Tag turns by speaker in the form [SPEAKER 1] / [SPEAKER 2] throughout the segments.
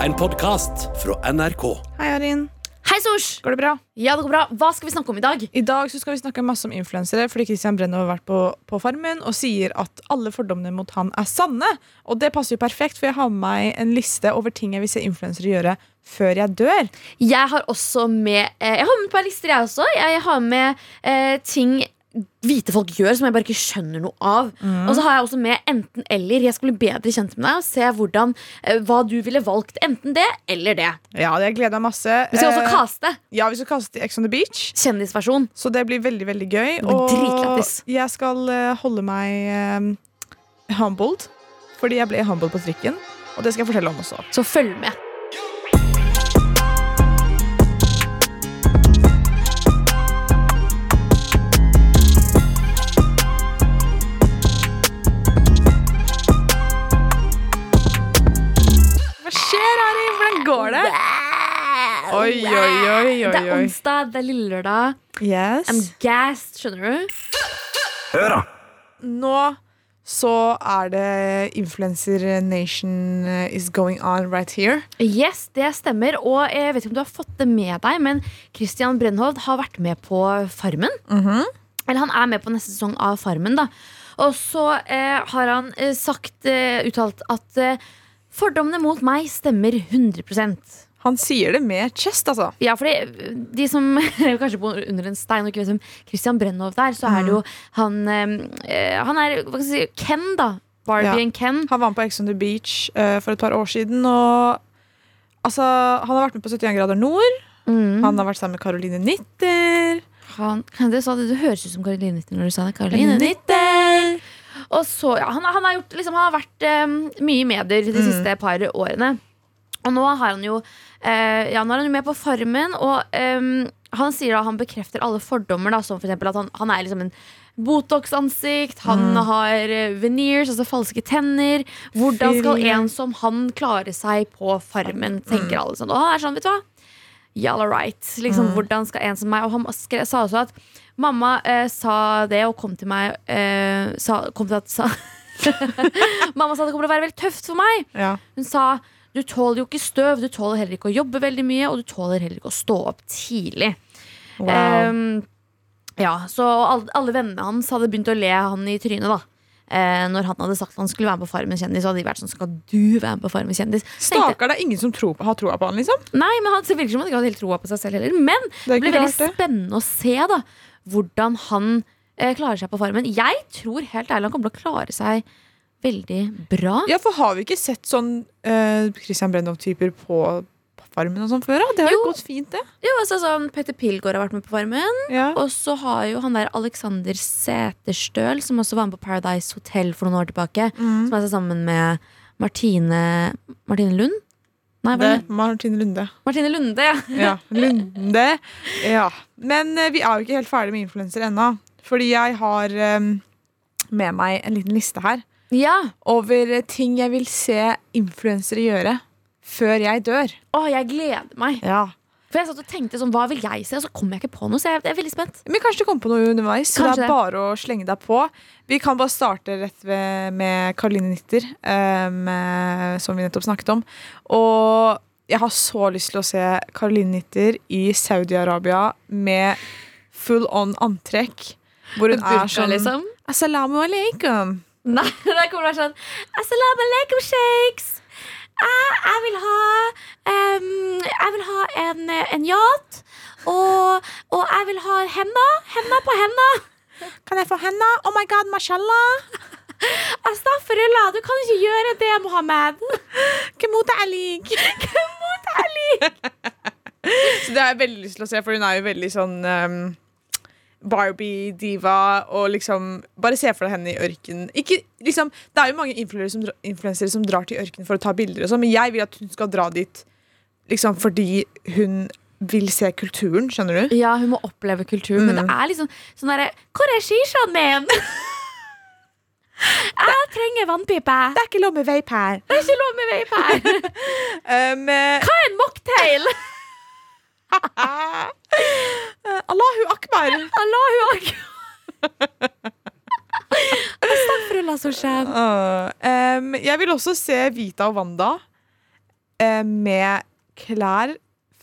[SPEAKER 1] En podcast fra NRK.
[SPEAKER 2] Hei, Arin.
[SPEAKER 3] Hei, Sosh!
[SPEAKER 2] Går det bra?
[SPEAKER 3] Ja, det går bra. Hva skal vi snakke om i dag?
[SPEAKER 2] I dag så skal vi snakke masse om influensere, fordi Christian Brenno har vært på, på Farmen og sier at alle fordommene mot han er sanne. Og det passer jo perfekt, for jeg har med meg en liste over ting jeg vil se influensere gjøre før jeg dør.
[SPEAKER 3] Jeg har også med eh, Jeg har med et par lister, jeg også. Jeg har med eh, ting hvite folk gjør som jeg bare ikke skjønner noe av. Og så har jeg også med enten-eller. Jeg skulle bli bedre kjent med deg og se hvordan, eh, hva du ville valgt. Enten det eller det.
[SPEAKER 2] Ja, jeg gleder meg masse.
[SPEAKER 3] Vi skal også
[SPEAKER 2] Eh,
[SPEAKER 3] kaste.
[SPEAKER 2] ja, vi skal kaste Ex on the Beach.
[SPEAKER 3] Kjendisversjon.
[SPEAKER 2] Så det blir veldig, veldig gøy.
[SPEAKER 3] blir dritlættis.
[SPEAKER 2] jeg skal eh, holde meg eh, humbled, fordi jeg ble humbled på trikken. Og det skal jeg fortelle om også.
[SPEAKER 3] Så følg med.
[SPEAKER 2] Hva skjer, Arin? Hvordan går det? Oi, oi, oi, oi,
[SPEAKER 3] Det er
[SPEAKER 2] oi.
[SPEAKER 3] onsdag, det er lille lørdag.
[SPEAKER 2] Yes.
[SPEAKER 3] I'm gassed, skjønner du?
[SPEAKER 2] nå så er det influencer nation eh, is going on right here.
[SPEAKER 3] Yes, det stemmer. Og jeg vet ikke om du har fått det med deg, men Christian Brennhovd har vært med på Farmen. Eller han er med på neste sesong av Farmen, da. Og så eh, har han eh, sagt, eh, uttalt at eh, fordommene mot meg stemmer 100
[SPEAKER 2] Han sier det med chest, altså.
[SPEAKER 3] Ja, fordi eh, de som kanskje bor under en stein og ikke vet hvem Christian Brennhovd er, så er det jo han eh, Han er hva skal jeg si, Ken, da. Barbie
[SPEAKER 2] Ja.
[SPEAKER 3] and Ken.
[SPEAKER 2] Han var med på Ex on the Beach eh, for et par år siden. Og altså, han har vært med på 71 grader nord.
[SPEAKER 3] Mm.
[SPEAKER 2] Han har vært sammen med Caroline Nitter.
[SPEAKER 3] Han, det, sa, det, det høres ut som Caroline Nitter når du sa det. Caroline Nitter! Og så, ja, han, han, har gjort, liksom, han har vært eh, mye i medier de siste par årene. Og nå, har han jo, eh, ja, nå er han jo med på Farmen, og eh, han sier da han bekrefter alle fordommer, da, som for eksempel at han, han er liksom en Botox-ansikt, han har eh, veneers, altså falske tenner. Hvordan skal
[SPEAKER 2] Filler.
[SPEAKER 3] en som han klare seg på Farmen, tenker alle sånn. Og han er sånn, vet du hva? Y'all are right. Liksom, Hvordan skal en som meg Og han skre, sa også at mamma eh, sa det og kom til meg eh, sa, kom til at, sa, Mamma sa det kommer til å være veldig tøft for meg.
[SPEAKER 2] Ja.
[SPEAKER 3] Hun sa du tåler jo ikke støv, du tåler heller ikke å jobbe veldig mye, og du tåler heller ikke å stå opp tidlig.
[SPEAKER 2] Wow.
[SPEAKER 3] Ehm, ja, så alle, alle vennene hans hadde begynt å le han i trynet, da. Eh, når han hadde sagt at han skulle være med på Farmen kjendis, så hadde de vært sånn Skal du være med på Farmen kjendis? Så tenkte jeg,
[SPEAKER 2] Stakkar, det er ingen som tror på, har troa på han, liksom.
[SPEAKER 3] Nei, men han det virker som han ikke hadde helt troa på seg selv heller. Men
[SPEAKER 2] Det er
[SPEAKER 3] det blir
[SPEAKER 2] ikke
[SPEAKER 3] veldig
[SPEAKER 2] rart, det.
[SPEAKER 3] spennende å se da hvordan han eh, klarer seg på Farmen. Jeg tror helt ærlig han kommer til å klare seg veldig bra.
[SPEAKER 2] Ja, for har vi ikke sett sånn eh, Christian Brennov-typer på på Farmen og sånn før? Da? Det har jo
[SPEAKER 3] Jo.
[SPEAKER 2] gått fint, det.
[SPEAKER 3] Jo, altså sånn Petter Pilgaard har vært med på Farmen.
[SPEAKER 2] Ja.
[SPEAKER 3] Og så har jo han der Alexander Seterstøl, som også var med på Paradise Hotel for noen år tilbake,
[SPEAKER 2] Mm.
[SPEAKER 3] som er sammen med Martine Martine Lund? Nei,
[SPEAKER 2] Det
[SPEAKER 3] var det?
[SPEAKER 2] er Martin Lunde.
[SPEAKER 3] Martine Lunde, ja.
[SPEAKER 2] Ja, Lunde. Ja. Men eh, vi er jo ikke helt ferdig med influenser ennå. Fordi jeg har eh, med meg en liten liste her
[SPEAKER 3] ja.
[SPEAKER 2] over eh, ting jeg vil se influensere gjøre før jeg dør.
[SPEAKER 3] Å, jeg gleder meg. For jeg satt og tenkte sånn, hva vil jeg se? Og så kom jeg ikke på noe, så jeg jeg er veldig spent.
[SPEAKER 2] Men kanskje det kommer på noe underveis, så det
[SPEAKER 3] Kanskje det.
[SPEAKER 2] er bare å slenge deg på. Vi kan bare starte rett ved, med Karoline Nitter, em, eh, som vi nettopp snakket om. Og jeg har så lyst til å se Karoline Nitter i Saudi-Arabia med full on antrekk. Hvor hun er sånn
[SPEAKER 3] liksom.
[SPEAKER 2] Assalamu alaikum.
[SPEAKER 3] Nei, der kommer det være sånn Assalamu alaikum shakes jeg, jeg vil ha em, Jeg vil ha en, en yacht og, og jeg vil ha henda Henda på henda
[SPEAKER 2] Kan jeg få henda? Oh my god, mashallah.
[SPEAKER 3] Astafrullah, du kan ikke gjøre det, Mohammed
[SPEAKER 2] Kemuta alik. Så det har jeg veldig lyst til å se, for hun er jo veldig sånn um, Barbie-diva og liksom Bare se for deg henne i ørkenen. Ikke, liksom, det er jo mange influensere som, dra- influensere som drar til ørkenen for å ta bilder, og sånn, men jeg vil at hun skal dra dit liksom, fordi hun vil se kulturen, skjønner du?
[SPEAKER 3] Ja, hun må oppleve kultur Men det er liksom sånn der Hvor er shishaen min? Jeg trenger vannpipe
[SPEAKER 2] Det er ikke lov med vape her.
[SPEAKER 3] Det er ikke lov med vei på her
[SPEAKER 2] Um, eh,
[SPEAKER 3] Hva er en mocktail?
[SPEAKER 2] eh, Allahu akbar.
[SPEAKER 3] Allahu akbar Astagfirullah, så skjønt
[SPEAKER 2] Åh, ehm, jeg vil også se Vita og Wanda. eh, med klær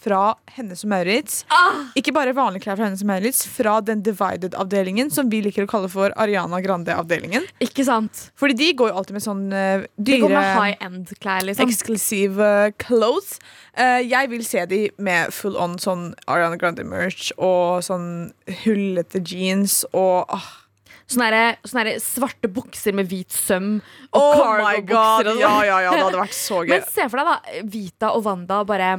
[SPEAKER 2] fra Hennes og Maurits.
[SPEAKER 3] Ah!
[SPEAKER 2] Ikke bare vanlige klær fra Hennes og Maurits, fra den Divided-avdelingen, som vi liker å kalle for Ariana Grande-avdelingen.
[SPEAKER 3] Ikke sant?
[SPEAKER 2] Fordi de går jo alltid med sånn eh,
[SPEAKER 3] Det går med
[SPEAKER 2] dyre
[SPEAKER 3] high end-klær, liksom.
[SPEAKER 2] Eksklusive clothes. Eh, jeg vil se de med full on sånn Ariana Grande-merch og sånn hullete jeans og ah,
[SPEAKER 3] Sånne, der- sånne der svarte bukser med hvit søm og
[SPEAKER 2] Oh my god!
[SPEAKER 3] cargo-bukser. og sånn.
[SPEAKER 2] Ja, ja, ja, det hadde vært så gøy.
[SPEAKER 3] Men se for deg, da. Vita og Wanda bare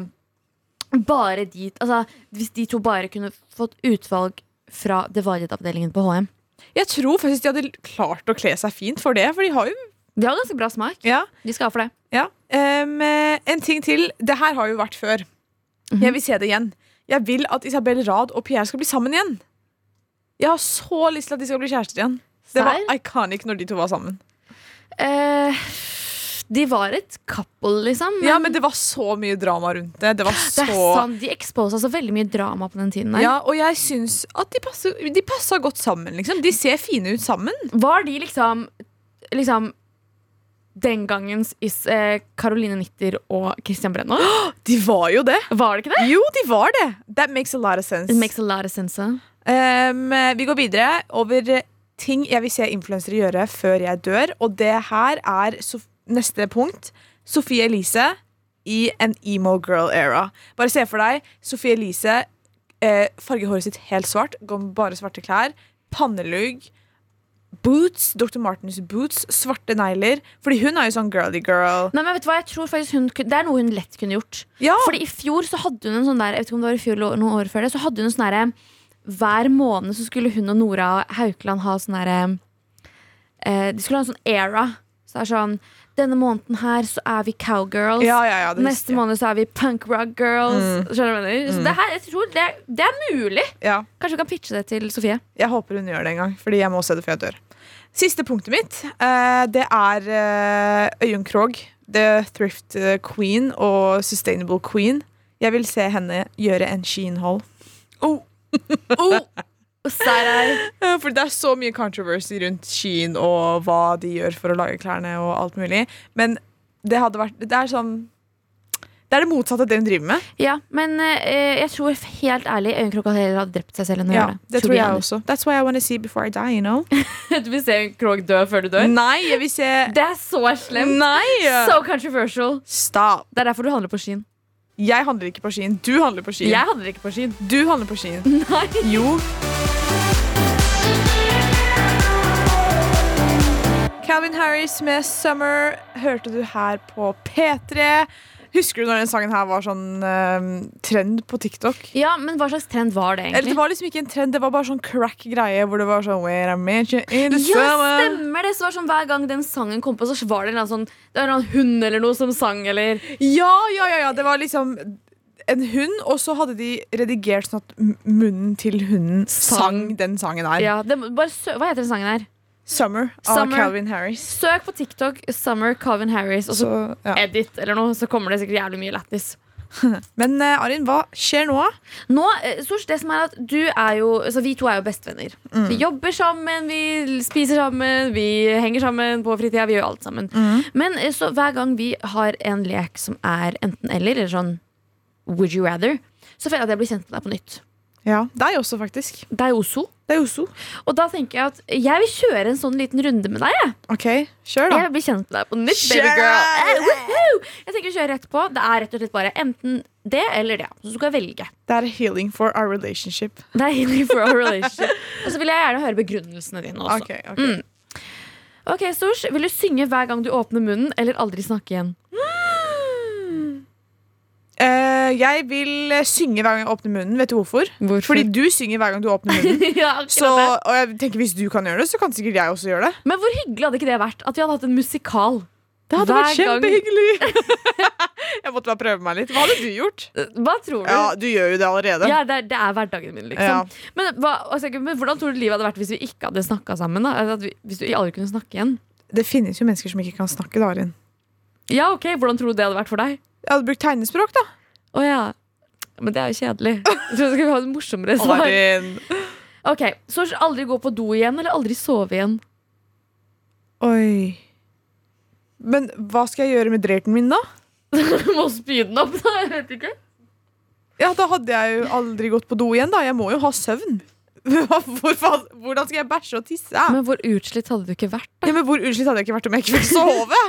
[SPEAKER 3] Bare dit. Altså, hvis de to bare kunne fått utvalg fra Divided-avdelingen på HM.
[SPEAKER 2] Jeg tror faktisk de hadde klart å kle seg fint for det, for de har jo
[SPEAKER 3] De har ganske bra smak.
[SPEAKER 2] ja,
[SPEAKER 3] De skal ha for det.
[SPEAKER 2] ja. Em, eh, En ting til. Det her har jo vært før. Jeg vil se det igjen. Jeg vil at Isabel Rad og Pierre skal bli sammen igjen. Jeg har så lyst til at de skal bli kjærester igjen. Det var
[SPEAKER 3] Serr?
[SPEAKER 2] iconic når de to var sammen.
[SPEAKER 3] Eh, de var et couple, liksom.
[SPEAKER 2] Ja, Men det var så mye drama rundt det. Det var
[SPEAKER 3] det
[SPEAKER 2] så
[SPEAKER 3] er sant, De exposa så veldig mye drama på den tiden. Der.
[SPEAKER 2] ja, Og jeg syns at de passer, de passer godt sammen. liksom De ser fine ut sammen.
[SPEAKER 3] Var de liksom, liksom den gangens is, eh, Caroline Nitter og Christian Brenna?
[SPEAKER 2] De var jo det.
[SPEAKER 3] Var det ikke det?
[SPEAKER 2] Jo, de var det. That makes a lot of sense.
[SPEAKER 3] It makes a lot of sense. eh?
[SPEAKER 2] Um, vi går videre over eh, ting jeg vil se influensere gjøre før jeg dør. Og det her er Sof neste punkt. Sophie Elise i en emo girl era. Bare se for deg Sophie Elise eh, farger håret sitt helt svart, går med bare svarte klær, pannelugg, boots, Dr. Martens boots, svarte negler. Fordi hun er jo sånn girly girl.
[SPEAKER 3] Nei, men vet du hva, jeg tror faktisk hun, kun- Det er noe hun lett kunne gjort.
[SPEAKER 2] Ja,
[SPEAKER 3] Fordi i fjor så hadde hun en sånn der Jeg vet ikke om det var i fjor eller noen år før det Så hadde hun en sånn der Hver måned så skulle hun og Nora Haukeland ha sånn der eh, De skulle ha en sånn era Så det er sånn Denne måneden her så er vi cowgirls
[SPEAKER 2] ja, ja, ja det husker
[SPEAKER 3] Neste
[SPEAKER 2] jeg.
[SPEAKER 3] måned så er vi punk rock girls Skjønner du hva jeg mener? Så det her, jeg tror det er, det er mulig
[SPEAKER 2] Ja.
[SPEAKER 3] Kanskje vi kan pitche det til Sofie
[SPEAKER 2] Jeg håper hun gjør det en gang, fordi jeg må se det før jeg dør. Siste punktet mitt, eh, det er eh, Øyunn Krogh. The Thrift eh, Queen og Sustainable Queen. Jeg vil se henne gjøre en Sheen-hall.
[SPEAKER 3] oh, Sarah.
[SPEAKER 2] For det er så mye controversy rundt Sheen og hva de gjør for å lage klærne og alt mulig. Men det hadde vært Det er sånn Det er det motsatte av det hun driver med.
[SPEAKER 3] Ja, men eh, jeg tror helt ærlig Øyunn Krogh heller hadde drept seg selv enn å
[SPEAKER 2] Ja,
[SPEAKER 3] gjøre det
[SPEAKER 2] det tror jeg
[SPEAKER 3] honest.
[SPEAKER 2] også. That's why I wanna see before I die, you know.
[SPEAKER 3] Du vil se Krog dø før du dør?
[SPEAKER 2] Nei, jeg vil se
[SPEAKER 3] Det er så slemt.
[SPEAKER 2] Nei!
[SPEAKER 3] So controversial.
[SPEAKER 2] Stop.
[SPEAKER 3] Det er derfor du handler på Shein.
[SPEAKER 2] Jeg handler ikke på Shein. Du handler på Shein.
[SPEAKER 3] Jeg Mhm. handler ikke på Shein.
[SPEAKER 2] Du handler på Shein.
[SPEAKER 3] Nei.
[SPEAKER 2] Jo. Calvin Harris med 'Summer' hørte du her på P3. Husker du når den sangen her var sånn eh, trend på TikTok?
[SPEAKER 3] Ja, men hva slags trend var det,
[SPEAKER 2] Eller det
[SPEAKER 3] egentlig?
[SPEAKER 2] var liksom ikke en trend, det var bare sånn crack greie hvor det var sånn Where I met you in the
[SPEAKER 3] Ja,
[SPEAKER 2] summer
[SPEAKER 3] stemmer det! Så var det sånn, hver gang den sangen kom på, så var det en eller annen, sånn, det var en eller annen hund eller noe som sang, eller
[SPEAKER 2] Ja, ja, ja, ja, det var liksom en hund, og så hadde de redigert sånn at m- munnen til hunden sang
[SPEAKER 3] Sang.
[SPEAKER 2] den sangen her.
[SPEAKER 3] ja, det, bare sø Hva heter den sangen her?
[SPEAKER 2] 'Summer' av
[SPEAKER 3] Summer.
[SPEAKER 2] Calvin Harris.
[SPEAKER 3] Søk på TikTok 'Summer Calvin Harris', og så
[SPEAKER 2] Så, ja.
[SPEAKER 3] edit eller noe, så kommer det sikkert jævlig mye lættis.
[SPEAKER 2] Men eh, Arin, hva skjer nå?
[SPEAKER 3] Nå, eh, Sosh, det som er at du er jo altså Vi to er jo bestevenner. Vi jobber sammen, vi spiser sammen, vi henger sammen på fritida. Vi gjør alt sammen. Men eh, så hver gang vi har en lek som er enten-eller, eller sånn Would you rather, så føler jeg at jeg blir kjent med deg på nytt.
[SPEAKER 2] Ja, Deg også, faktisk.
[SPEAKER 3] Det er jo Oso.
[SPEAKER 2] Det er Joso.
[SPEAKER 3] Og da tenker jeg at jeg vil kjøre en sånn liten runde med deg. Jeg,
[SPEAKER 2] OK, kjør, da.
[SPEAKER 3] jeg vil bli kjent med deg på nytt,
[SPEAKER 2] Kjør!
[SPEAKER 3] baby girl. Eh, woohoo! Jeg tenker vi kjører rett på. Det er rett og slett bare enten det eller det. Så skal jeg velge.
[SPEAKER 2] Det er healing for our relationship.
[SPEAKER 3] Det er healing for our relationship. Og så vil jeg gjerne høre begrunnelsene dine også. Mm.
[SPEAKER 2] Ok, ok.
[SPEAKER 3] Ok, Stors, Vil du synge hver gang du åpner munnen, eller aldri snakke igjen?
[SPEAKER 2] Eh, jeg vil eh, synge hver gang jeg åpner munnen. Vet du hvorfor? Fordi du synger hver gang du åpner munnen.
[SPEAKER 3] ja, akkurat
[SPEAKER 2] Så,
[SPEAKER 3] det.
[SPEAKER 2] og jeg tenker Hvis du kan gjøre det, så kan sikkert jeg også gjøre det.
[SPEAKER 3] Men hvor hyggelig hadde ikke det vært? At vi hadde hatt en musikal.
[SPEAKER 2] Det hadde vært
[SPEAKER 3] Hver gang-
[SPEAKER 2] kjempehyggelig! jeg måtte bare prøve meg litt. Hva hadde du gjort?
[SPEAKER 3] Hva tror du?
[SPEAKER 2] Ja, Du gjør jo det allerede.
[SPEAKER 3] Ja, det, er, det er hverdagen
[SPEAKER 2] Ja.
[SPEAKER 3] min, liksom. Men, hva, altså, men hvordan tror du livet hadde vært hvis vi ikke hadde snakka sammen? da? Altså, At vi, hvis vi aldri kunne snakke igjen?
[SPEAKER 2] Det finnes jo mennesker som ikke kan snakke, da, Arin.
[SPEAKER 3] Ja, ok, Hvordan tror du det hadde vært for deg?
[SPEAKER 2] Jeg hadde brukt tegnespråk, da.
[SPEAKER 3] Å ja. Men det er jo kjedelig. Jeg tror jeg skal ha et morsommere svar.
[SPEAKER 2] Arin.
[SPEAKER 3] Ok, Så aldri gå på do igjen, eller aldri sove igjen?
[SPEAKER 2] Oi. Men hva skal jeg gjøre med drøyten min, da?
[SPEAKER 3] Må spy den opp, da. Jeg vet ikke.
[SPEAKER 2] Ja, da hadde jeg jo aldri gått på do igjen, da. Jeg må jo ha søvn. Hvor faen, hvordan skal jeg bæsje og tisse?
[SPEAKER 3] Men hvor utslitt hadde du ikke vært?
[SPEAKER 2] ja, men Hvor utslitt hadde jeg ikke vært om jeg ikke fikk sove?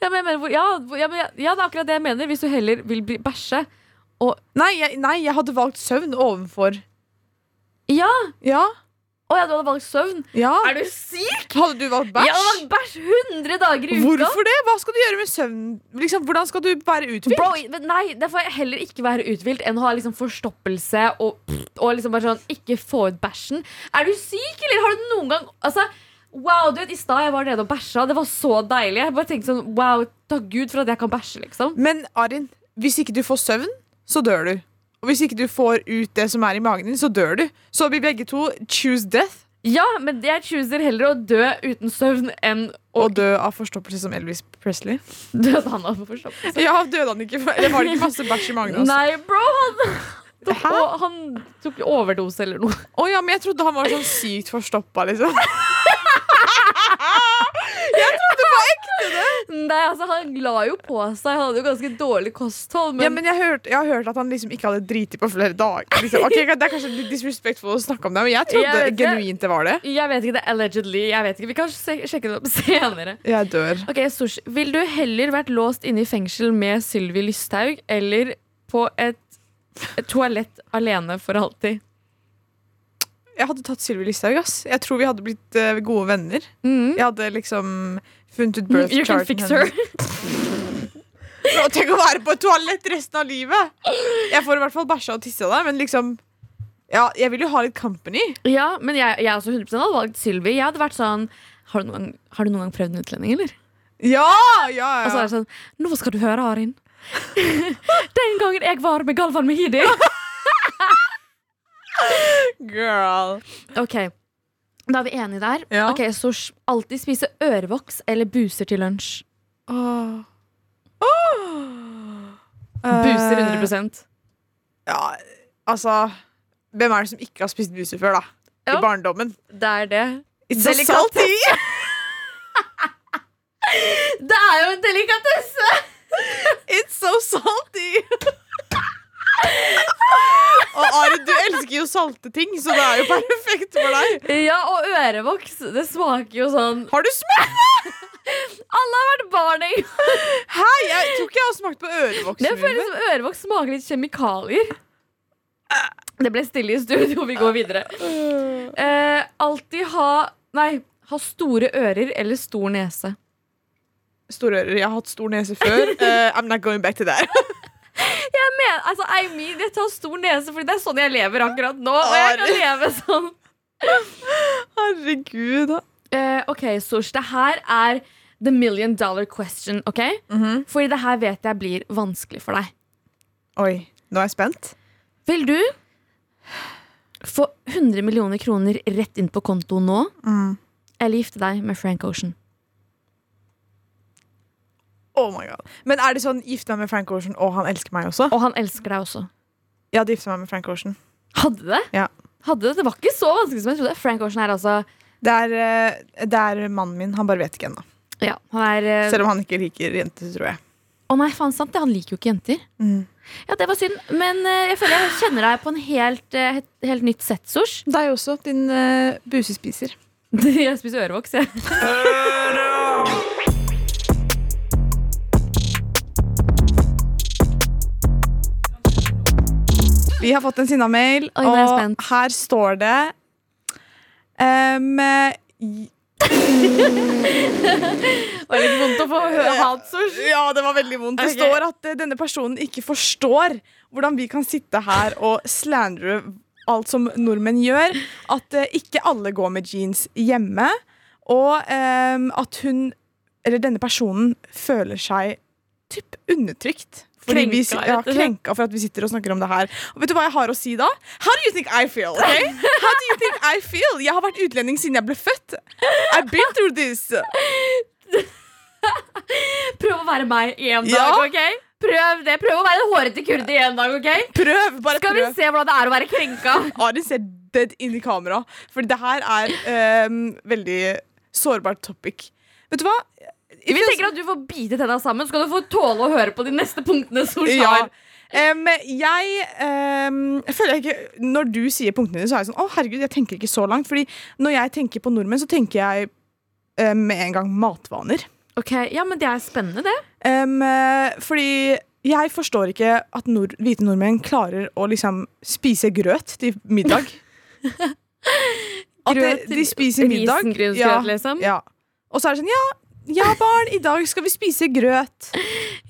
[SPEAKER 3] Ja, men jeg mener, hvor- ja, hvor- ja, men jeg- ja, det er akkurat det jeg mener. Hvis du heller vil bli- bæsje.
[SPEAKER 2] Nei jeg, nei, jeg hadde valgt søvn ovenfor.
[SPEAKER 3] Ja!
[SPEAKER 2] Ja?
[SPEAKER 3] Å ja, du hadde valgt søvn.
[SPEAKER 2] ja.
[SPEAKER 3] Er du syk?
[SPEAKER 2] Hadde du valgt
[SPEAKER 3] Jeg hadde
[SPEAKER 2] bæsj?
[SPEAKER 3] valgt bæsj 100 dager i uka.
[SPEAKER 2] Hvorfor det? Hva skal du gjøre med søvnen? Liksom, hvordan skal du være uthvilt?
[SPEAKER 3] Bro, men nei, det får jeg heller ikke være uthvilt enn å ha liksom forstoppelse og, og liksom bare sånn ikke få ut bæsjen. Er du syk, eller har du noen gang Altså, wow, du vet, I stad jeg var nede og bæsja, det var så deilig. Jeg bare tenkte sånn, wow, takk Gud for at jeg kan bæsje, liksom.
[SPEAKER 2] Men Arin, hvis ikke du får søvn, så dør du. Og hvis ikke du får ut det som er i magen din, så dør du. Så vi begge to choose death
[SPEAKER 3] Ja, men jeg chooser heller å dø uten søvn enn å
[SPEAKER 2] og dø av forstoppelse som Elvis Presley.
[SPEAKER 3] dø av han av forstoppelse.
[SPEAKER 2] Ja, døde han ikke? Eller var det ikke masse bæsj i magen? Også?
[SPEAKER 3] Nei, bro, han tok,
[SPEAKER 2] Hæ?
[SPEAKER 3] og, han tok overdose eller noe.
[SPEAKER 2] Å ja, men jeg trodde han var sånn sykt forstoppa, liksom.
[SPEAKER 3] Nei, altså, han la jo på seg. Han hadde jo ganske dårlig kosthold,
[SPEAKER 2] ja, men jeg, hørte, jeg har hørt at han liksom ikke hadde driti på flere dager. Liksom. Ok, Det er kanskje litt disrespectful å snakke om det, men jeg trodde
[SPEAKER 3] Jeg vet det.
[SPEAKER 2] genuint det var det.
[SPEAKER 3] Jeg vet ikke, det er allegedly. Jeg vet ikke. Vi kan se- sjekke det opp senere.
[SPEAKER 2] Jeg dør.
[SPEAKER 3] Ok, Sush, Vil du heller vært låst inne i fengsel med Sylvi Lysthaug eller på et et toalett alene for alltid?
[SPEAKER 2] Jeg hadde tatt Sylvi Listhaug, ass. Jeg tror vi hadde blitt eh, gode venner.
[SPEAKER 3] Mm.
[SPEAKER 2] Jeg hadde liksom funnet ut birth
[SPEAKER 3] You can
[SPEAKER 2] charten
[SPEAKER 3] fix her.
[SPEAKER 2] hennes. Og tenk å være på et toalett resten av livet! Jeg får i hvert fall bæsja og tissa der, men liksom Ja, jeg vil jo ha litt company.
[SPEAKER 3] Ja, men jeg, jeg også 100 hadde valgt Sylvi. Jeg hadde vært sånn har du, noen gang, har du noen gang prøvd en utlending, eller?
[SPEAKER 2] Ja! ja,
[SPEAKER 3] Og så er
[SPEAKER 2] ja.
[SPEAKER 3] det sånn Nå skal du høre, Arin. Den gangen jeg var med Galvan Mehidi.
[SPEAKER 2] Girl.
[SPEAKER 3] Ok, Da er vi enige der.
[SPEAKER 2] Ja.
[SPEAKER 3] Ok, Sush, Alltid spise ørevoks eller buser til lunsj.
[SPEAKER 2] Åh.
[SPEAKER 3] Buser
[SPEAKER 2] Eh,
[SPEAKER 3] 100
[SPEAKER 2] Ja, altså Hvem er det som ikke har spist buser før, da?
[SPEAKER 3] Ja.
[SPEAKER 2] I barndommen.
[SPEAKER 3] Det er det.
[SPEAKER 2] It's so
[SPEAKER 3] Delikat.
[SPEAKER 2] salty!
[SPEAKER 3] Det er jo en delikatesse!
[SPEAKER 2] It's so salty! Og Ari, du elsker jo salte ting, så det er jo perfekt for deg.
[SPEAKER 3] Ja, og ørevoks. Det smaker jo sånn
[SPEAKER 2] Har du smakt?
[SPEAKER 3] Alle har vært barn en gang.
[SPEAKER 2] Hæ? Jeg tror ikke jeg har smakt på
[SPEAKER 3] Det
[SPEAKER 2] ørevoksen.
[SPEAKER 3] føles som ørevoks smaker litt kjemikalier. Det ble stille i studio. Vi går videre. Eh, alltid ha Nei, ha store ører eller stor nese.
[SPEAKER 2] Store ører. Jeg har hatt stor nese før. Eh, I'm not going back to that.
[SPEAKER 3] Jeg mener, altså, I mean, jeg tar stor nese fordi det er sånn jeg lever akkurat nå. Og jeg kan leve sånn
[SPEAKER 2] Herregud. da.
[SPEAKER 3] Eh, ok, Sosh, det her er the million dollar question, ok?
[SPEAKER 2] Mhm.
[SPEAKER 3] Fordi det her vet jeg blir vanskelig for deg.
[SPEAKER 2] Oi, nå er jeg spent.
[SPEAKER 3] Vil du få 100 millioner kroner rett inn på konto nå, eller gifte deg med Frank Ocean?
[SPEAKER 2] Oh my god. Men er det sånn gifte meg med Frank Ocean, og han elsker meg også?
[SPEAKER 3] Og han elsker deg også.
[SPEAKER 2] Jeg hadde gifta meg med Frank Ocean.
[SPEAKER 3] Hadde det?
[SPEAKER 2] Ja.
[SPEAKER 3] Hadde det? Det var ikke så vanskelig som jeg trodde. Frank Ocean er altså
[SPEAKER 2] Det er, eh, det er mannen min. Han bare vet ikke ennå.
[SPEAKER 3] Ja, han er eh,
[SPEAKER 2] Selv om han ikke liker jenter, tror jeg.
[SPEAKER 3] Å nei, faen sant det. Han liker jo ikke jenter.
[SPEAKER 2] Mm.
[SPEAKER 3] Ja, det var synd, men eh, jeg føler jeg kjenner deg på en helt, eh, helt, helt nytt sett, Sosh.
[SPEAKER 2] Deg også, din
[SPEAKER 3] eh,
[SPEAKER 2] busespiser.
[SPEAKER 3] Jeg spiser ørevoks, jeg.
[SPEAKER 2] Vi har fått en Sinna-mail,
[SPEAKER 3] Oi, nå er jeg
[SPEAKER 2] og
[SPEAKER 3] spent.
[SPEAKER 2] her står det um, eh,
[SPEAKER 3] Det var litt vondt å få høre hat, Sosh.
[SPEAKER 2] Ja, det var veldig vondt.
[SPEAKER 3] Ok.
[SPEAKER 2] Det står at eh, denne personen ikke forstår hvordan vi kan sitte her og slandre alt som nordmenn gjør. At eh, ikke alle går med jeans hjemme, og ehm, at hun, eller denne personen, føler seg typ undertrykt. Fordi vi, si-
[SPEAKER 3] Krenka,
[SPEAKER 2] ja,
[SPEAKER 3] rett og slett.
[SPEAKER 2] krenka for at vi sitter og snakker om det her. Og vet du hva jeg har å si da? How do you think I feel? Okay? How do you think I feel? Jeg har vært utlending siden jeg ble født. I've been through this.
[SPEAKER 3] Prøv å være meg i en dag,
[SPEAKER 2] Ja.
[SPEAKER 3] ok? Prøv det. Prøv å være en hårete kurde i en dag, ok?
[SPEAKER 2] Prøv, bare
[SPEAKER 3] Skal vi
[SPEAKER 2] prøv.
[SPEAKER 3] se hvordan det er å være krenka?
[SPEAKER 2] Ari ser dead inn i kamera, for det her er ehm, veldig sårbart topic. Vet du hva?
[SPEAKER 3] Vi tenker at du får bite tenna sammen, så skal du få tåle å høre på de neste punktene. Solskjær.
[SPEAKER 2] Ja. Em, jeg em, føler jeg ikke Når du sier punktene dine, så er jeg sånn Å, herregud, jeg tenker ikke så langt. Fordi når jeg tenker på nordmenn, så tenker jeg eh, med en gang matvaner.
[SPEAKER 3] Ok, ja, men det er spennende, det.
[SPEAKER 2] Em, eh, fordi jeg forstår ikke at nord, hvite nordmenn klarer å liksom spise grøt til middag. At det,
[SPEAKER 3] Grøt til
[SPEAKER 2] de spiser middag.
[SPEAKER 3] risengrynsgrøt,
[SPEAKER 2] Ja,
[SPEAKER 3] liksom.
[SPEAKER 2] ja. Og så er det sånn Ja, ja barn, i dag skal vi spise grøt.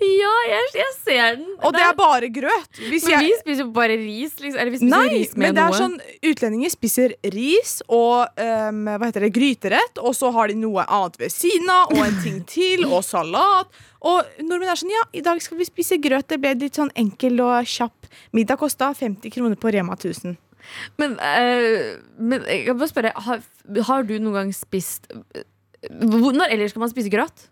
[SPEAKER 3] Ja, jeg, jeg ser den.
[SPEAKER 2] Og det er bare grøt. Hvis
[SPEAKER 3] men
[SPEAKER 2] jeg,
[SPEAKER 3] vi spiser jo bare ris. Liksom. Eller vi spiser
[SPEAKER 2] Nei,
[SPEAKER 3] ris med
[SPEAKER 2] men det er
[SPEAKER 3] noe.
[SPEAKER 2] sånn Utlendinger spiser ris og ehm, hva heter det, gryterett, og så har de noe annet ved siden av, og en ting til, og salat. Og nordmenn er sånn Ja, i dag skal vi spise grøt. Det ble litt sånn enkel og kjapp. Middag kosta 50 kroner på Rema 1000.
[SPEAKER 3] Men, eh, men jeg kan bare spørre, har, har du noen gang spist hvor- Når ellers skal man spise grøt?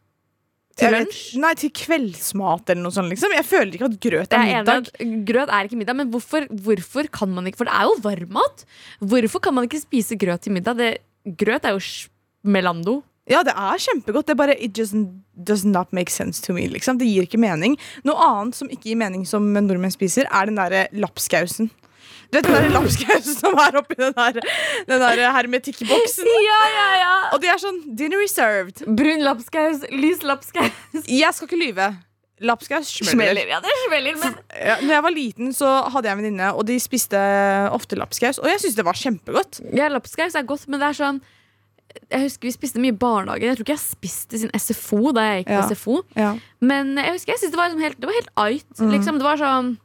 [SPEAKER 3] Til
[SPEAKER 2] Jeg vet-
[SPEAKER 3] lunsj?
[SPEAKER 2] Nei, til kveldsmat eller noe sånt, liksom. Jeg føler ikke at grøt
[SPEAKER 3] Jeg
[SPEAKER 2] er
[SPEAKER 3] er enig i
[SPEAKER 2] middag.
[SPEAKER 3] at Grøt er ikke middag, men hvorfor, hvorfor kan man ikke For det er jo varmmat! Hvorfor kan man ikke spise grøt til middag? Det, grøt er jo smelando.
[SPEAKER 2] Ja, det er kjempegodt. Det er bare It just does not make sense to me. liksom Det gir ikke mening. Noe annet som ikke gir mening, som nordmenn spiser, er den derre lapskausen. Du vet den der lapskausen som er oppi den der, den der hermetikkboksen?
[SPEAKER 3] Ja, ja, ja!
[SPEAKER 2] Og det er sånn dinner reserved.
[SPEAKER 3] Brun lapskaus, lys lapskaus.
[SPEAKER 2] Jeg skal ikke lyve. Lapskaus smeller.
[SPEAKER 3] Smeller. Ja, det smeller, men
[SPEAKER 2] Ja, når jeg var liten, så hadde jeg en venninne, og de spiste ofte lapskaus. Og jeg syntes det var kjempegodt.
[SPEAKER 3] Ja, lapskaus er godt, men det er sånn Jeg husker vi spiste mye i barnehagen. Jeg tror ikke jeg spiste sin SFO da jeg gikk på
[SPEAKER 2] Ja.
[SPEAKER 3] SFO. Men jeg husker jeg synes det var liksom helt, det var helt ait. Liksom. Det var sånn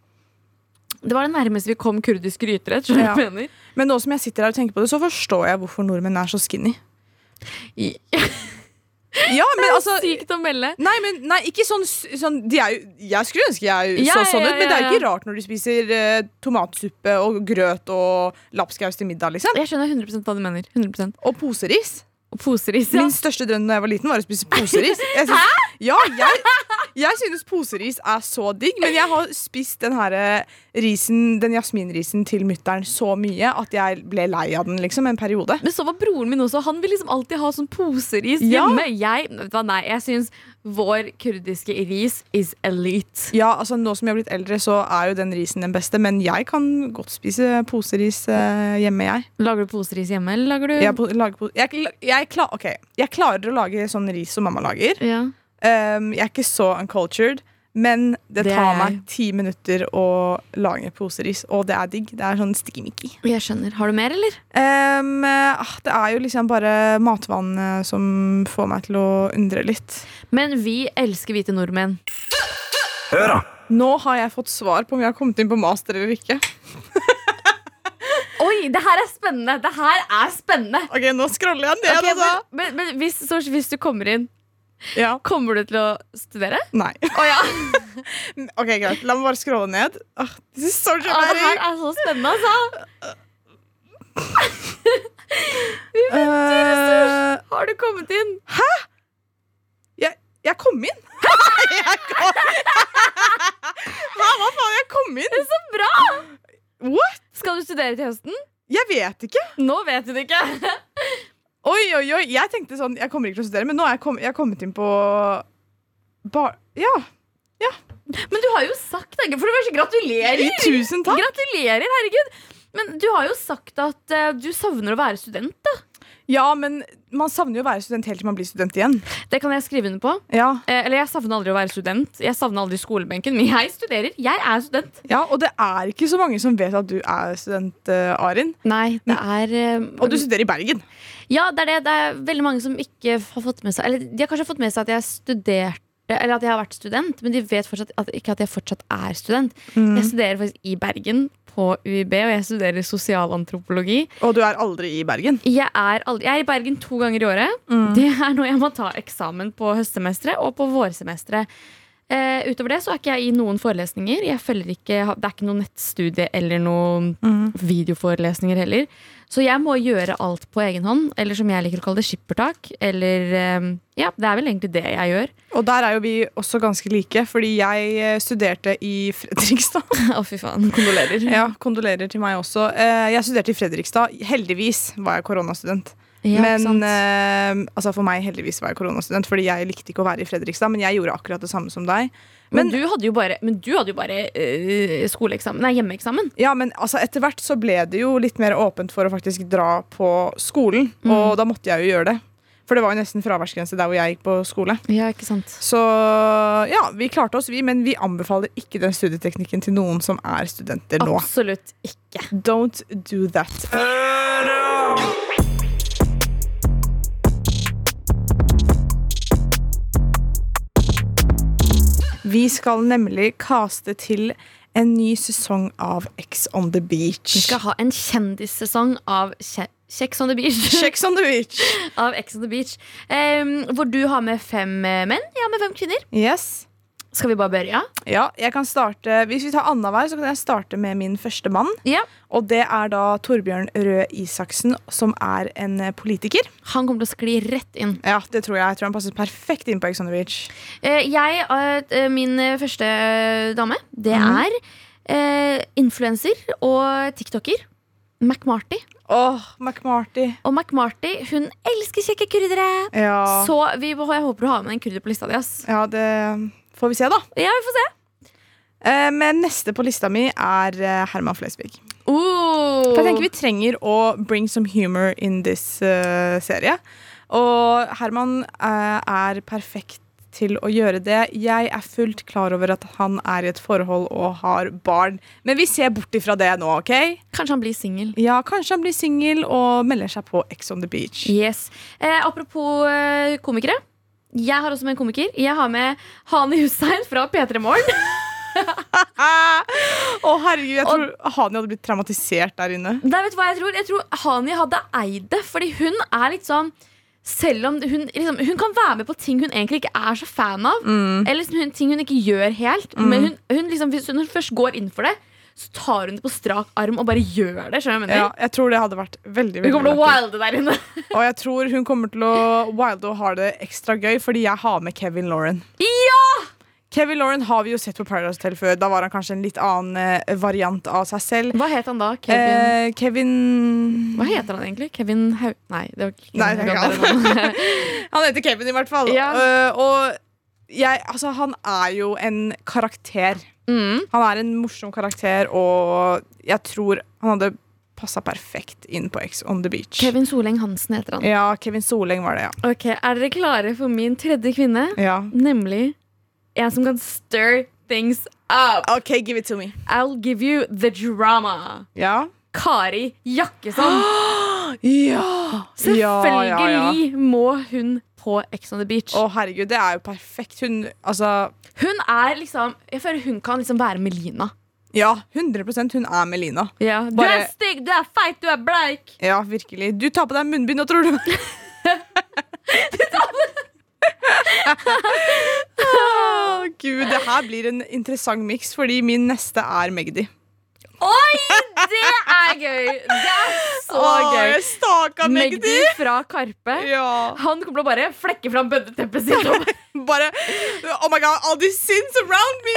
[SPEAKER 3] Det var det nærmeste vi kom kurdisk gryterett. skjønner du hva jeg mener?
[SPEAKER 2] Men nå som jeg sitter her og tenker på det, så forstår jeg hvorfor nordmenn er så skinny.
[SPEAKER 3] I-
[SPEAKER 2] Ja, men altså
[SPEAKER 3] Sykt å melde.
[SPEAKER 2] Nei, men nei, ikke sånn, sånn de er jo, Jeg skulle ønske jeg
[SPEAKER 3] Ja,
[SPEAKER 2] så sånn
[SPEAKER 3] ja,
[SPEAKER 2] ut, men det er jo
[SPEAKER 3] ja,
[SPEAKER 2] ikke rart når de spiser eh, tomatsuppe og grøt og lapskaus til middag. liksom
[SPEAKER 3] Jeg skjønner 100 hva du mener. 100
[SPEAKER 2] Og poseris.
[SPEAKER 3] Og poseris. Ja.
[SPEAKER 2] Min største drøm da jeg var liten, var å spise poseris. Jeg synes, ja, jeg, jeg synes poseris er så digg, men jeg har spist den her eh, risen, den jasminrisen til mutter'n så mye at jeg ble lei av den liksom en periode.
[SPEAKER 3] Men så var broren min også. Han vil liksom alltid ha sånn poseris
[SPEAKER 2] Ja.
[SPEAKER 3] hjemme. Jeg, vet du hva, nei, jeg syns vår kurdiske ris is elite.
[SPEAKER 2] Ja, altså Nå som jeg har blitt eldre, så er jo den risen den beste, men jeg kan godt spise poseris eh, hjemme, jeg.
[SPEAKER 3] Lager du poseris hjemme, eller lager du
[SPEAKER 2] Jeg, po- lager po- jeg, kla- jeg, kla- ok, jeg klarer å lage sånn ris som mamma lager.
[SPEAKER 3] ja.
[SPEAKER 2] Um, jeg er ikke så uncultured, men det
[SPEAKER 3] Det er
[SPEAKER 2] tar
[SPEAKER 3] jeg.
[SPEAKER 2] meg ti minutter å lage poseris, og det er digg. Det er sånn sticky-micky.
[SPEAKER 3] Jeg skjønner. Har du mer, eller?
[SPEAKER 2] Um, eh, ah, det er jo liksom bare matvann eh, som får meg til å undre litt.
[SPEAKER 3] Men vi elsker hvite nordmenn.
[SPEAKER 1] Hør da!
[SPEAKER 2] Nå har jeg fått svar på om jeg har kommet inn på master eller ikke.
[SPEAKER 3] Oi, det her er spennende! Det her er spennende!
[SPEAKER 2] Ok, Nå scroller jeg ned.
[SPEAKER 3] Ok,
[SPEAKER 2] altså.
[SPEAKER 3] men, men, men hvis, så, hvis du kommer inn,
[SPEAKER 2] Ja,
[SPEAKER 3] kommer du til å studere?
[SPEAKER 2] Nei.
[SPEAKER 3] Å ja!
[SPEAKER 2] Ok, Greit, la meg bare scrolle ned. Ah, this is so
[SPEAKER 3] Å, det
[SPEAKER 2] dramatic.
[SPEAKER 3] her er så spennende, altså!
[SPEAKER 2] Eh,
[SPEAKER 3] Har du kommet inn?
[SPEAKER 2] Jeg, jeg kom inn! jeg kom. Hæ, hva faen? Jeg kom inn!
[SPEAKER 3] Så bra!
[SPEAKER 2] What?
[SPEAKER 3] Skal du studere til høsten?
[SPEAKER 2] Jeg vet ikke.
[SPEAKER 3] Nå vet du det ikke.
[SPEAKER 2] Oi, oi, oi. Jeg tenkte sånn, jeg kommer ikke til å studere, men nå er jeg, kom, jeg har kommet inn på bar... Ja.
[SPEAKER 3] Men du har jo sagt det. For det første, gratulerer!
[SPEAKER 2] Tusen takk.
[SPEAKER 3] Gratulerer, herregud! Men du har jo sagt at eh, du savner å være student. da
[SPEAKER 2] Ja, men man savner jo å være student helt til man blir student igjen.
[SPEAKER 3] Det kan jeg skrive under på.
[SPEAKER 2] Ja,
[SPEAKER 3] Eh, eller jeg savner aldri å være student. Jeg savner aldri skolebenken, men jeg studerer. Jeg er student.
[SPEAKER 2] ja Og det er ikke så mange som vet at du er student, eh, Arin.
[SPEAKER 3] Nei, det er eh,
[SPEAKER 2] Og du studerer i Bergen.
[SPEAKER 3] Ja, det er det. Det er veldig mange som ikke har fått med seg Eller de har kanskje fått med seg at jeg studerte eller at jeg har vært student, men de vet fortsatt at, ikke at jeg fortsatt er student. Jeg studerer faktisk i Bergen, på UiB, og jeg studerer sosialantropologi.
[SPEAKER 2] Og du er aldri i Bergen.
[SPEAKER 3] Jeg er, aldri, jeg er i Bergen to ganger i året. Det er når jeg må ta eksamen på høstsemesteret og på vårsemesteret. Eh, utover det så er ikke jeg i noen forelesninger. Jeg følger ikke, ha- det er ikke noe nettstudie eller noen videoforelesninger heller. Så jeg må gjøre alt på egen hånd, eller som jeg liker å kalle det, skippertak. Eller eh, Ja, det er vel egentlig det jeg gjør.
[SPEAKER 2] Og der er jo vi også ganske like, fordi jeg eh, studerte i Fredrikstad.
[SPEAKER 3] Å, fy faen. Kondolerer.
[SPEAKER 2] Ja, kondolerer til meg også. Eh, Jeg studerte i Fredrikstad. Heldigvis var jeg koronastudent.
[SPEAKER 3] Ja, ikke
[SPEAKER 2] men
[SPEAKER 3] sant?
[SPEAKER 2] eh, altså for meg heldigvis var jeg koronastudent, Fordi jeg likte ikke å være i Fredrikstad. Men jeg gjorde akkurat det samme som deg. Men,
[SPEAKER 3] Men, du hadde jo bare, men du hadde jo bare eh, skoleeksamen, nei, hjemmeeksamen.
[SPEAKER 2] ja, men altså, etter hvert så ble det jo litt mer åpent for å faktisk dra på skolen.
[SPEAKER 3] Mm.
[SPEAKER 2] Og da måtte jeg jo gjøre det. For det var jo nesten fraværsgrense der hvor jeg gikk på skole.
[SPEAKER 3] Ja, ikke sant
[SPEAKER 2] Så ja, vi klarte oss, vi. Men vi anbefaler ikke den studieteknikken til noen som er studenter nå.
[SPEAKER 3] Absolutt ikke.
[SPEAKER 2] Don't do that. Vi skal nemlig kaste til en ny sesong av X on the
[SPEAKER 3] Vi
[SPEAKER 2] beach.
[SPEAKER 3] skal ha en kjendissesong av Kje- Kjeks on the beach.
[SPEAKER 2] X on the beach.
[SPEAKER 3] av Ex on the beach em, Hvor du har med fem eh, menn, jeg har med fem kvinner.
[SPEAKER 2] Yes.
[SPEAKER 3] Skal vi bare begynne?
[SPEAKER 2] Ja, jeg kan starte, Hvis vi tar annenhver, så kan jeg starte med min første mann.
[SPEAKER 3] Ja.
[SPEAKER 2] Og det er da Torbjørn Røe Isaksen, som er en eh, politiker.
[SPEAKER 3] Han kommer til å skli rett inn.
[SPEAKER 2] Ja, det tror jeg. Jeg tror han passer perfekt inn på Ex on the beach.
[SPEAKER 3] Eh, jeg, eh, Min eh, første eh, dame, det
[SPEAKER 2] Mhm.
[SPEAKER 3] er eh, influenser og tiktoker. McMarty.
[SPEAKER 2] Åh, McMarty.
[SPEAKER 3] Og McMarty hun elsker kjekke kryddere!
[SPEAKER 2] Ja.
[SPEAKER 3] Så vi, jeg håper du har med en krydder på lista di. ass
[SPEAKER 2] ja, det får vi se, da.
[SPEAKER 3] Ja, vi får se.
[SPEAKER 2] Eh, Men neste på lista mi er eh, Herman Flesvig.
[SPEAKER 3] Oh.
[SPEAKER 2] For jeg tenker Vi trenger å bring some humor in this eh, serie. Og Herman eh, er perfekt til å gjøre det. Jeg er fullt klar over at han er i et forhold og har barn, men vi ser bort ifra det nå, OK?
[SPEAKER 3] Kanskje han blir singel.
[SPEAKER 2] Ja, Kanskje han blir singel og melder seg på Ex on the beach.
[SPEAKER 3] Yes. Eh, apropos eh, komikere. Jeg har også med en komiker. Jeg har med Hani Hussein fra P3 Morgen.
[SPEAKER 2] Ah! Å, herregud, jeg tror Hani hadde blitt traumatisert der inne.
[SPEAKER 3] Nei, vet du hva Jeg tror Jeg tror Hani hadde eid det, fordi hun er litt sånn selv om hun, liksom, hun kan være med på ting hun egentlig ikke er så fan av.
[SPEAKER 2] Mm.
[SPEAKER 3] Eller liksom, hun, ting hun ikke gjør helt. Men hun, hun liksom, hvis hun først går inn for det, så tar hun det på strak arm og bare gjør det. Skjønner du hva jeg mener?
[SPEAKER 2] Ja, jeg tror det hadde vært veldig
[SPEAKER 3] Hun
[SPEAKER 2] veldig
[SPEAKER 3] kommer til å
[SPEAKER 2] lættis.
[SPEAKER 3] wilde der inne.
[SPEAKER 2] Og jeg tror hun kommer til å wilde og ha det ekstra gøy, fordi jeg har med Kevin Lauren. Kevin Lauren har vi jo sett på Paradise Hotel før. Da var han kanskje en litt annen eh, variant av seg selv.
[SPEAKER 3] Hva het han da?
[SPEAKER 2] Kevin, eh,
[SPEAKER 3] Kevin?
[SPEAKER 2] Kevin
[SPEAKER 3] Hva heter han egentlig? Kevin Hau... Nei, det var ikke
[SPEAKER 2] Nei, det er ikke
[SPEAKER 3] det var
[SPEAKER 2] han.
[SPEAKER 3] bare navnet.
[SPEAKER 2] Han heter Kevin, i hvert fall.
[SPEAKER 3] Ja.
[SPEAKER 2] Eh, og jeg, altså, han er jo en karakter.
[SPEAKER 3] Mm.
[SPEAKER 2] Han er en morsom karakter, og jeg tror han hadde passa perfekt inn på X on the beach.
[SPEAKER 3] Kevin Soleng Hansen heter han.
[SPEAKER 2] Ja, Kevin Soleng var det, ja.
[SPEAKER 3] Ok, Er dere klare for min tredje kvinne?
[SPEAKER 2] ja.
[SPEAKER 3] Nemlig en som kan stir things up.
[SPEAKER 2] OK, give it to me.
[SPEAKER 3] I'll give you the drama.
[SPEAKER 2] Ja.
[SPEAKER 3] Kari Jakkesson.
[SPEAKER 2] Ja!
[SPEAKER 3] Selvfølgelig
[SPEAKER 2] Ja, ja, ja.
[SPEAKER 3] må hun på Ex on the Beach.
[SPEAKER 2] Å, herregud, det er jo perfekt. Hun altså
[SPEAKER 3] Hun er liksom Jeg føler hun kan liksom være Melina.
[SPEAKER 2] Ja, 100 hun er Melina.
[SPEAKER 3] Du
[SPEAKER 2] Bare-
[SPEAKER 3] er stygg, du er feit, du er bleik.
[SPEAKER 2] Ja, virkelig. Du tar på deg munnbind nå, tror du. Å, Gud, det her blir en interessant miks, fordi min neste er Magdi.
[SPEAKER 3] Oi, det er gøy! Det er så
[SPEAKER 2] Å,
[SPEAKER 3] gøy.
[SPEAKER 2] jeg staka
[SPEAKER 3] Magdi
[SPEAKER 2] Magdi!
[SPEAKER 3] fra Karpe.
[SPEAKER 2] Ja.
[SPEAKER 3] Han kommer til å bare flekke fram bønneteppet sitt. og bare-
[SPEAKER 2] Bare Oh my god, all these sins around me!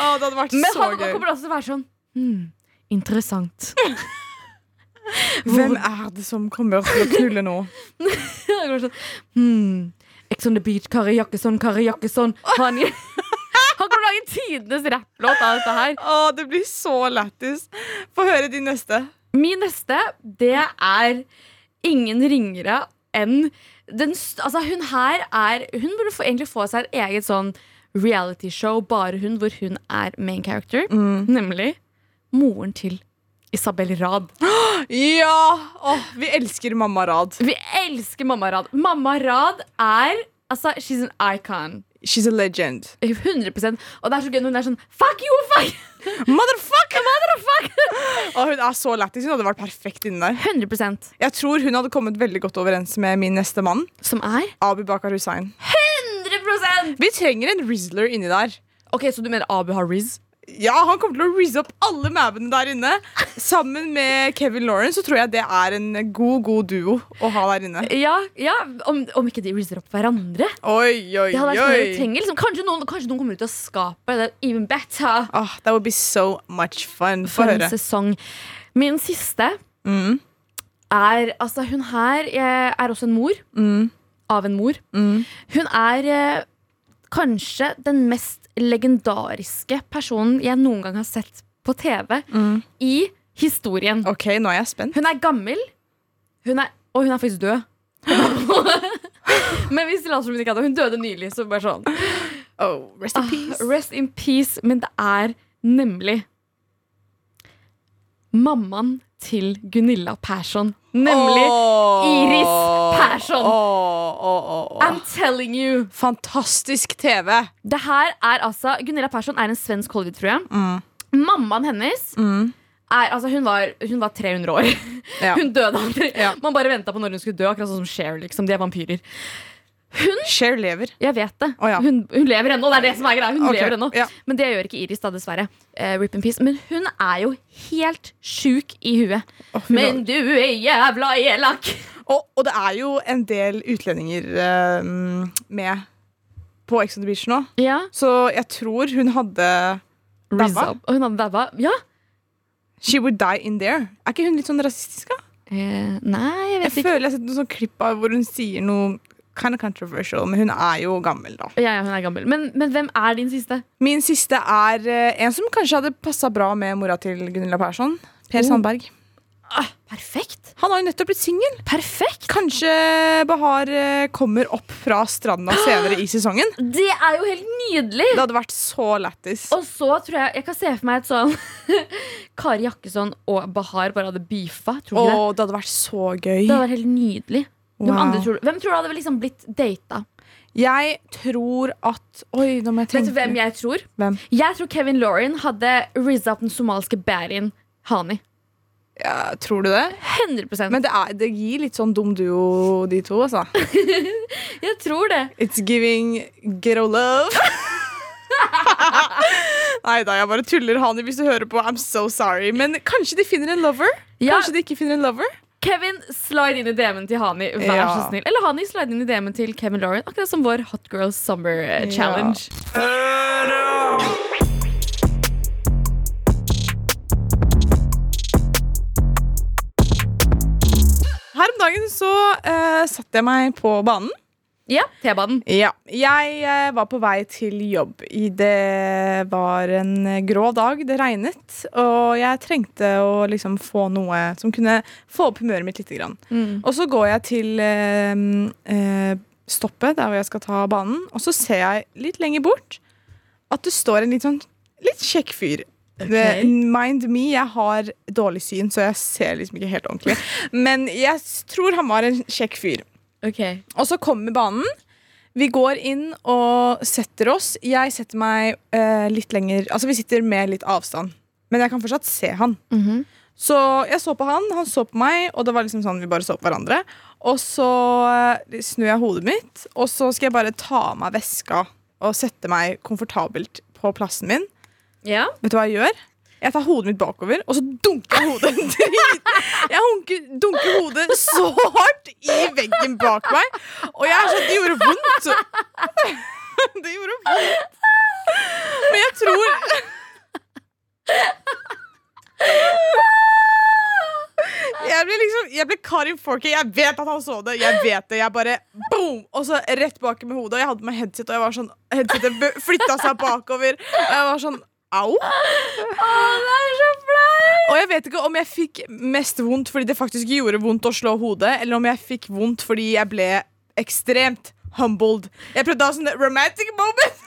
[SPEAKER 2] Å, det hadde vært
[SPEAKER 3] Men
[SPEAKER 2] så
[SPEAKER 3] han
[SPEAKER 2] gøy.
[SPEAKER 3] kommer også til å være sånn hmm, Interessant.
[SPEAKER 2] Hvem er det som kommer til å knulle nå?
[SPEAKER 3] Han kommer sånn hmm, Ex on the beach, Kari Jakkesson, Kari Jakkesson. Han, han kommer til å lage tidenes rapplåt av dette her.
[SPEAKER 2] Å, det blir så lættis. Få høre din neste.
[SPEAKER 3] Min neste, det er ingen ringere enn den, st- altså hun her er Hun burde få, egentlig få seg et eget sånn realityshow, bare hun, hvor hun er main character.
[SPEAKER 2] Mm.
[SPEAKER 3] Nemlig moren til Isabel Rad.
[SPEAKER 2] Ja! Åh, vi elsker mamma Rad.
[SPEAKER 3] Vi elsker mamma Rad. Mamma Rad er Altså, she's an icon.
[SPEAKER 2] She's a legend.
[SPEAKER 3] 100 Og det er så gøy når hun er sånn Fuck you, fuck!
[SPEAKER 2] Motherfucker!
[SPEAKER 3] Motherfucker!
[SPEAKER 2] Åh, hun er så lættis. Hun hadde vært perfekt inni der.
[SPEAKER 3] 100
[SPEAKER 2] Jeg tror hun hadde kommet veldig godt overens med min neste mann.
[SPEAKER 3] Som er
[SPEAKER 2] Abu Bakar Hussein.
[SPEAKER 3] 100
[SPEAKER 2] Vi trenger en Rizzler inni der.
[SPEAKER 3] Ok, Så du mener Abu har Riz?
[SPEAKER 2] Ja, Han kommer til å rizze opp alle mabene der inne. Sammen med Kevin Lauren så tror jeg det er en god god duo å ha der inne.
[SPEAKER 3] Ja, ja om, om ikke de rizzer opp hverandre.
[SPEAKER 2] Oi, oi,
[SPEAKER 3] Det hadde vært noe vi
[SPEAKER 2] oi.
[SPEAKER 3] trenger liksom. kanskje, noen, kanskje noen kommer ut av skapet. Det er even better
[SPEAKER 2] Ah, that would be so much fun. Få Mm.
[SPEAKER 3] for en
[SPEAKER 2] høre.
[SPEAKER 3] sesong. Min siste er Altså, hun her eh, er også en mor.
[SPEAKER 2] Mm.
[SPEAKER 3] Av en mor.
[SPEAKER 2] Mm.
[SPEAKER 3] Hun er eh, kanskje den mest legendariske personen jeg noen gang har sett på TV
[SPEAKER 2] Mm.
[SPEAKER 3] i historien.
[SPEAKER 2] Ok, nå er jeg spent.
[SPEAKER 3] Hun er gammel, hun er, og hun er faktisk død. Men hvis later som hun ikke hadde Hun døde nylig, så bare sånn.
[SPEAKER 2] Oh, rest in peace.
[SPEAKER 3] Ah, rest in peace. Men det er nemlig mammaen til Gunilla Persson. Nemlig
[SPEAKER 2] Åh.
[SPEAKER 3] Iris Persson.
[SPEAKER 2] Åh, åh, åh, åh.
[SPEAKER 3] I'm telling you!
[SPEAKER 2] Fantastisk TV!
[SPEAKER 3] Det her er altså Gunilla Persson er en svensk Hollywood-frue.
[SPEAKER 2] Mm.
[SPEAKER 3] Mammaen hennes er, altså hun, var, hun var 300 år.
[SPEAKER 2] Ja.
[SPEAKER 3] Hun døde aldri.
[SPEAKER 2] Ja.
[SPEAKER 3] Man bare venta på når hun skulle dø, akkurat sånn som Cher. Liksom. De er vampyrer.
[SPEAKER 2] Cher lever.
[SPEAKER 3] Jeg vet det.
[SPEAKER 2] Å, ja.
[SPEAKER 3] hun, hun lever ennå. Det er det som er greia. Hun
[SPEAKER 2] Ok,
[SPEAKER 3] lever ennå.
[SPEAKER 2] ja.
[SPEAKER 3] Men det gjør ikke Iris, da, dessverre. Eh, rip in peace. Men hun er jo helt sjuk i huet.
[SPEAKER 2] hun
[SPEAKER 3] Men du er jævla elak!
[SPEAKER 2] Og, og det er jo en del utlendinger eh, med på Ex on the Beach nå,
[SPEAKER 3] Ja.
[SPEAKER 2] så jeg tror hun hadde Dabba?
[SPEAKER 3] Og hun hadde dabba. Ja.
[SPEAKER 2] She Would Die In There. Er ikke hun litt sånn rasistisk? da?
[SPEAKER 3] Eh, nei, jeg
[SPEAKER 2] Jeg
[SPEAKER 3] vet ikke.
[SPEAKER 2] føler jeg har sett noen sånn klipp av hvor hun sier noe kind of controversial, men hun er jo gammel, da.
[SPEAKER 3] Ja, ja, hun er gammel. Men, men hvem er din siste?
[SPEAKER 2] Min siste er eh, en som kanskje hadde passa bra med mora til Gunilla Persson. Per
[SPEAKER 3] Oh.
[SPEAKER 2] Sandberg.
[SPEAKER 3] Perfekt.
[SPEAKER 2] Han har jo nettopp blitt singel.
[SPEAKER 3] Perfekt!
[SPEAKER 2] Kanskje Bahar eh, kommer opp fra stranda senere i sesongen.
[SPEAKER 3] Det er jo helt nydelig!
[SPEAKER 2] Det hadde vært så lættis.
[SPEAKER 3] Og så tror jeg jeg kan se for meg et sånn Kari Jakkesson og Bahar bare hadde beefa. Tror du
[SPEAKER 2] Og
[SPEAKER 3] ikke det?
[SPEAKER 2] det hadde vært så gøy.
[SPEAKER 3] Det hadde vært helt nydelig. Hvem,
[SPEAKER 2] Wow.
[SPEAKER 3] andre tror, du- hvem tror du hadde liksom blitt data?
[SPEAKER 2] Jeg tror at Oi, nå må jeg
[SPEAKER 3] Vet
[SPEAKER 2] tenke.
[SPEAKER 3] du hvem jeg tror?
[SPEAKER 2] Hvem?
[SPEAKER 3] Jeg tror Kevin Lauren hadde rizza opp den somaliske baddien Hani.
[SPEAKER 2] Ja, tror du det?
[SPEAKER 3] 100
[SPEAKER 2] Men det, er, det gir litt sånn dum duo, de to. altså
[SPEAKER 3] Jeg tror det.
[SPEAKER 2] It's giving ghetto love. Nei da, jeg bare tuller, Hani, hvis du hører på. I'm so sorry. Men kanskje de finner en lover?
[SPEAKER 3] Ja.
[SPEAKER 2] Kanskje de ikke finner en lover?
[SPEAKER 3] Kevin, slide inn i DM-en til Hani. Vær
[SPEAKER 2] Ja.
[SPEAKER 3] så snill. Eller Hani, slide inn i DM-en til Kevin Lauren. Akkurat som vår Hot Girls Summer eh,
[SPEAKER 2] Ja.
[SPEAKER 3] Challenge.
[SPEAKER 1] Høra!
[SPEAKER 2] Her om dagen så eh, satte jeg meg på banen.
[SPEAKER 3] Ja, T-banen.
[SPEAKER 2] Ja. Jeg eh, var på vei til jobb. I det var en eh, grå dag, det regnet. Og jeg trengte å liksom få noe som kunne få opp humøret mitt lite grann. Og så går jeg til eh, eh, stoppet der hvor jeg skal ta banen, og så ser jeg litt lenger bort at det står en litt sånn litt kjekk fyr. Det- Mind me, jeg har dårlig syn, så jeg ser liksom ikke helt ordentlig. Men jeg s- tror han var en kjekk fyr.
[SPEAKER 3] Ok.
[SPEAKER 2] Og så kommer banen. Vi går inn og setter oss. Jeg setter meg eh, litt lenger Altså, vi sitter med litt avstand, men jeg kan fortsatt se han.
[SPEAKER 3] Mhm.
[SPEAKER 2] Så jeg så på han, han så på meg, og det var liksom sånn vi bare så på hverandre. Og så eh, snur jeg hodet mitt, og så skal jeg bare ta av meg veska og sette meg komfortabelt på plassen min.
[SPEAKER 3] Ja.
[SPEAKER 2] Vet du hva jeg gjør? Jeg tar hodet mitt bakover, og så dunker jeg hodet drit. Jeg hunker, dunker hodet så hardt i veggen bak meg. Og jeg er sånn, det gjorde vondt. Det gjorde vondt. Men jeg tror Jeg ble liksom, jeg ble Karin Forky. Jeg vet at han så det. Jeg vet det, jeg bare boom! Og så rett bak med hodet. Og jeg hadde med headset, og jeg var sånn, headsetet flytta seg bakover. Og jeg var sånn au.
[SPEAKER 3] Å, det er så flaut!
[SPEAKER 2] Og jeg vet ikke om jeg fikk mest vondt fordi det faktisk gjorde vondt å slå hodet, eller om jeg fikk vondt fordi jeg ble ekstremt humbled. Jeg prøvde å ha sånn romantic moment.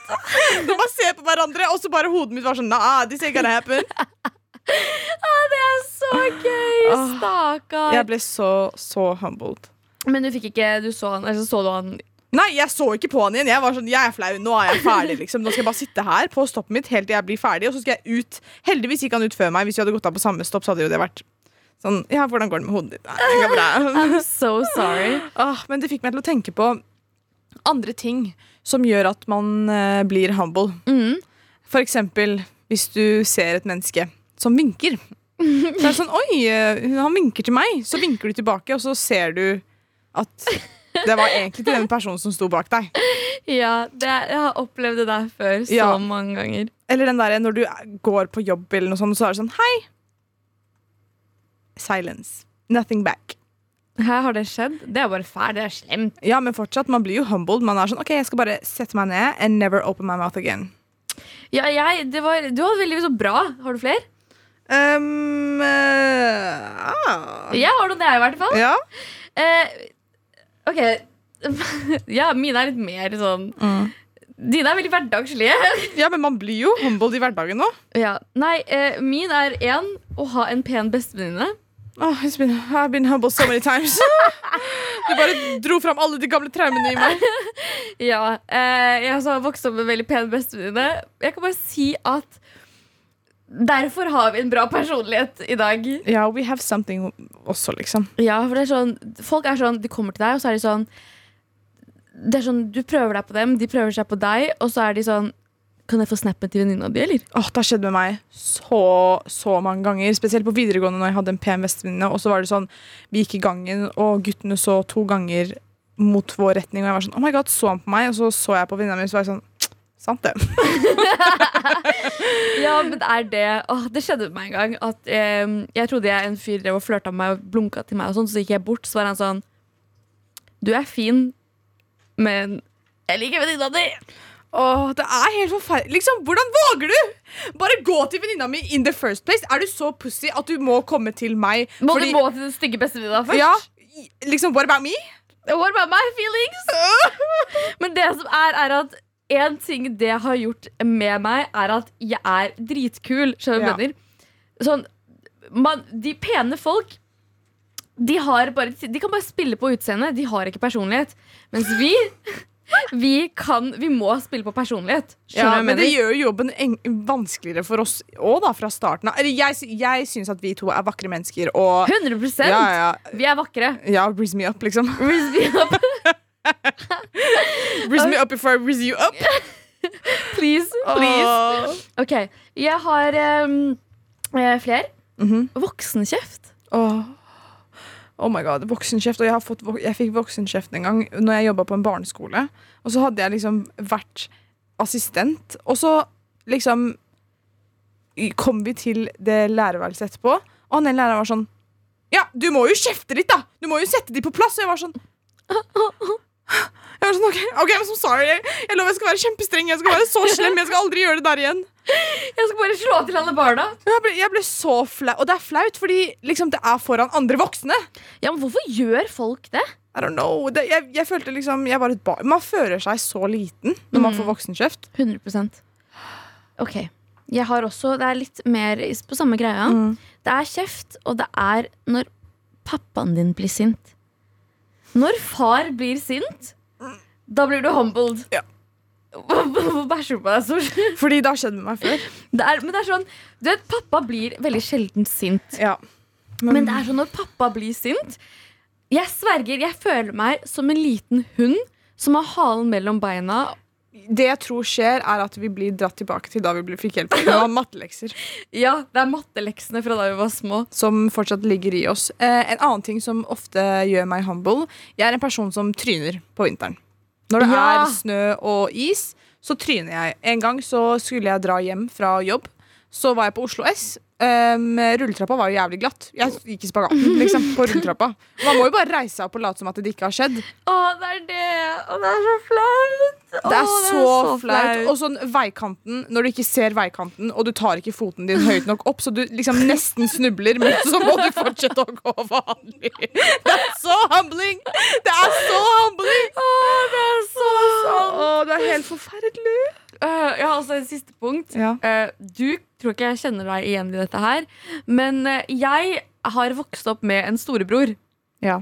[SPEAKER 2] Når man ser på hverandre, og så bare hodet mitt var sånn Nah, this ain't gonna happen.
[SPEAKER 3] Å, det er så gøy!
[SPEAKER 2] Åh.
[SPEAKER 3] Stakkar.
[SPEAKER 2] Jeg ble så, så humbled.
[SPEAKER 3] Men du fikk ikke Du så han, altså, så du han
[SPEAKER 2] Nei, jeg så ikke på han igjen. Jeg var sånn, jeg er flau, nå er jeg ferdig liksom Nå skal jeg bare sitte her på stoppet mitt helt til jeg blir ferdig, og så skal jeg ut. Heldigvis gikk han ut før meg. Hvis vi hadde gått av på samme stopp, så hadde jo det vært sånn Ja, hvordan går det med hodet ditt? Nei, det går bra.
[SPEAKER 3] I'm so sorry.
[SPEAKER 2] Åh, Ah, men det fikk meg til å tenke på andre ting som gjør at man eh, blir humble.
[SPEAKER 3] Mm.
[SPEAKER 2] For eksempel hvis du ser et menneske som vinker. Så er det sånn, oi, eh, han vinker til meg. Så vinker du tilbake, og så ser du at det var egentlig til den personen som sto bak deg.
[SPEAKER 3] Ja, det, er- jeg har opplevd det der før så
[SPEAKER 2] Ja.
[SPEAKER 3] mange ganger.
[SPEAKER 2] Eller den derre når du eh, går på jobb, eller noe sånt, så er det sånn, hei. Silence. Nothing back. Her har det skjedd.
[SPEAKER 3] Det er bare fælt. Det er slemt.
[SPEAKER 2] Ja, men fortsatt, man blir jo humbled. Man er sånn, ok, jeg skal bare sette meg ned and never open my mouth again.
[SPEAKER 3] Ja, jeg, det var, du var veldig så bra. Har du flere?
[SPEAKER 2] Um, eh, ah.
[SPEAKER 3] Jeg har noen, jeg, i hvert fall.
[SPEAKER 2] Ja.
[SPEAKER 3] Eh, ok. ja, mine er litt mer sånn
[SPEAKER 2] Mm.
[SPEAKER 3] Dine er veldig hverdagslige.
[SPEAKER 2] ja, men man blir jo humbled i hverdagen nå.
[SPEAKER 3] ja. Nei, eh, min er én å ha en pen bestevenninne.
[SPEAKER 2] Oh, it's been, I've been humbled so many times. du bare dro fram alle de gamle traumene i meg.
[SPEAKER 3] Ja, eh, jeg har vokst opp med en veldig pen bestevenninne. Jeg kan bare si at derfor har vi en bra personlighet i dag.
[SPEAKER 2] Ja, we have something også, liksom.
[SPEAKER 3] Ja, for det er sånn, Folk er sånn, de kommer til deg, og så er de sånn Det er sånn, Du prøver deg på dem, de prøver seg på deg, og så er de sånn Kan jeg få snappen til venninna di, eller?
[SPEAKER 2] Åh, det har skjedd med meg så så mange ganger. Spesielt på videregående når jeg hadde en pen bestevenninne. Og så var det sånn, vi gikk i gangen, og guttene så to ganger mot vår retning. Og jeg var sånn, oh my god, så han på meg? Og så så jeg på venninna mi, og så var jeg sånn, sant det.
[SPEAKER 3] Ja, men det er det Åh, Det skjedde med meg en gang. At eh, Jeg trodde jeg en fyr drev og flørta med meg og blunka til meg, og sånn, så gikk jeg bort, så var han sånn Du er fin, men jeg liker venninna di.
[SPEAKER 2] Åh, det er helt forferdelig. Liksom, hvordan våger du? Bare gå til venninna mi in the first place. Er du så pussy at du må komme til meg?
[SPEAKER 3] Må
[SPEAKER 2] fordi-
[SPEAKER 3] du må til den stygge bestevenninna først?
[SPEAKER 2] Ja, i- liksom, what about me?
[SPEAKER 3] What about my feelings? Men det som er, er at en ting det har gjort med meg, er at jeg er dritkul. Skjønner du hva
[SPEAKER 2] Ja.
[SPEAKER 3] jeg mener? Sånn, man, de pene folk de, har bare, de kan bare spille på utseende. De har ikke personlighet. Mens vi vi, kan, vi må spille på personlighet.
[SPEAKER 2] Ja,
[SPEAKER 3] Skjønner du hva jeg
[SPEAKER 2] men det
[SPEAKER 3] mener?
[SPEAKER 2] gjør jo jobben eng- vanskeligere for oss òg, da, fra starten av. Eller jeg, sy- jeg syns at vi to er vakre mennesker, og
[SPEAKER 3] 100
[SPEAKER 2] ja, ja,
[SPEAKER 3] Vi er vakre.
[SPEAKER 2] ja, raise me up, liksom.
[SPEAKER 3] Raise me up,
[SPEAKER 2] Raise me up before I raise you up.
[SPEAKER 3] please. please.
[SPEAKER 2] Please.
[SPEAKER 3] Ok, jeg har um, eh, flere.
[SPEAKER 2] Mhm.
[SPEAKER 3] Voksenkjeft.
[SPEAKER 2] Åh. Oh my god, voksenkjeft. Og jeg, har fått, vok- jeg fikk voksenkjeft en gang når jeg jobba på en barneskole. Og så hadde jeg liksom vært assistent, og så liksom i- kom vi til det lærerværelset etterpå, og han ene læreren var sånn Ja, du må jo kjefte litt, da! Du må jo sette de på plass! Og jeg var sånn Jeg var sånn, OK, ok, I'm so sorry. Jeg, jeg lover jeg skal være kjempestreng. Jeg skal være så slem. Jeg skal aldri gjøre det der igjen.
[SPEAKER 3] Jeg skal bare slå til alle barna.
[SPEAKER 2] Jeg ble, jeg ble så flau. Og det er flaut, fordi liksom, det er foran andre voksne.
[SPEAKER 3] Ja, men Hvorfor gjør folk det?
[SPEAKER 2] I don't know. Det, jeg, jeg følte liksom jeg var et barn. Man føler seg så liten når man
[SPEAKER 3] Mm.
[SPEAKER 2] får voksenkjeft.
[SPEAKER 3] 100 Ok. Jeg har også Det er litt mer is- på samme greia. Det er kjeft, og det er når pappaen din blir sint. Når far blir sint, da blir du humbled.
[SPEAKER 2] Ja.
[SPEAKER 3] Hvorfor bæsjer du på deg, Sol?
[SPEAKER 2] Fordi det har skjedd med meg før.
[SPEAKER 3] Det er, men det er sånn Du vet, pappa blir veldig sjelden sint.
[SPEAKER 2] Ja.
[SPEAKER 3] Men det er sånn når pappa blir sint Jeg sverger, jeg føler meg som en liten hund som har halen mellom beina.
[SPEAKER 2] Det jeg tror skjer, er at vi blir dratt tilbake til da vi ble- fikk hjelp. Det var mattelekser
[SPEAKER 3] Ja, det er matteleksene fra da vi var små.
[SPEAKER 2] som fortsatt ligger i oss. Eh, en annen ting som ofte gjør meg humble, jeg er en person som tryner på vinteren. Når det
[SPEAKER 3] Ja.
[SPEAKER 2] er snø og is, så tryner jeg. En gang så skulle jeg dra hjem fra jobb. Så var jeg på Oslo S. Um, rulletrappa var jo jævlig glatt. Jeg gikk i spagaten liksom, på rulletrappa. Man må jo bare reise seg opp og late som at det ikke har skjedd.
[SPEAKER 3] Å, det er det! Å, det er så flaut! Å,
[SPEAKER 2] Det er så, flaut. Og sånn veikanten, når du ikke ser veikanten, og du tar ikke foten din høyt nok opp, så du liksom nesten snubler, men så må du fortsette å gå vanlig. Det er så humbling! Det er så humbling!
[SPEAKER 3] Å, det er så sant!
[SPEAKER 2] Å, det er helt forferdelig.
[SPEAKER 3] Øh, jeg har også et siste punkt.
[SPEAKER 2] Ja.
[SPEAKER 3] Øh, du tror ikke jeg kjenner deg igjen i dette her, men øh, jeg har vokst opp med en storebror.
[SPEAKER 2] Ja.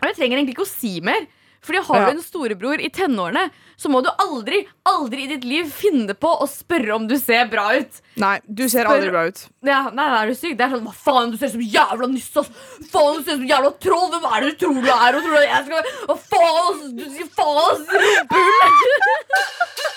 [SPEAKER 3] Og jeg trenger egentlig ikke å si mer. Fordi har
[SPEAKER 2] Ja.
[SPEAKER 3] du en storebror i tenårene, så må du aldri aldri i ditt liv finne på å spørre om du ser bra ut.
[SPEAKER 2] Nei, du ser aldri bra ut.
[SPEAKER 3] Ja, nei, nei, er du syk? Det er sånn, Hva faen, du ser ut som jævla nisse! ass. Faen, du ser ut som jævla troll! Hvem er det du tror du er? Og tror du at jeg skal Hva faen, ass, du sier faen, ass, rumpehull!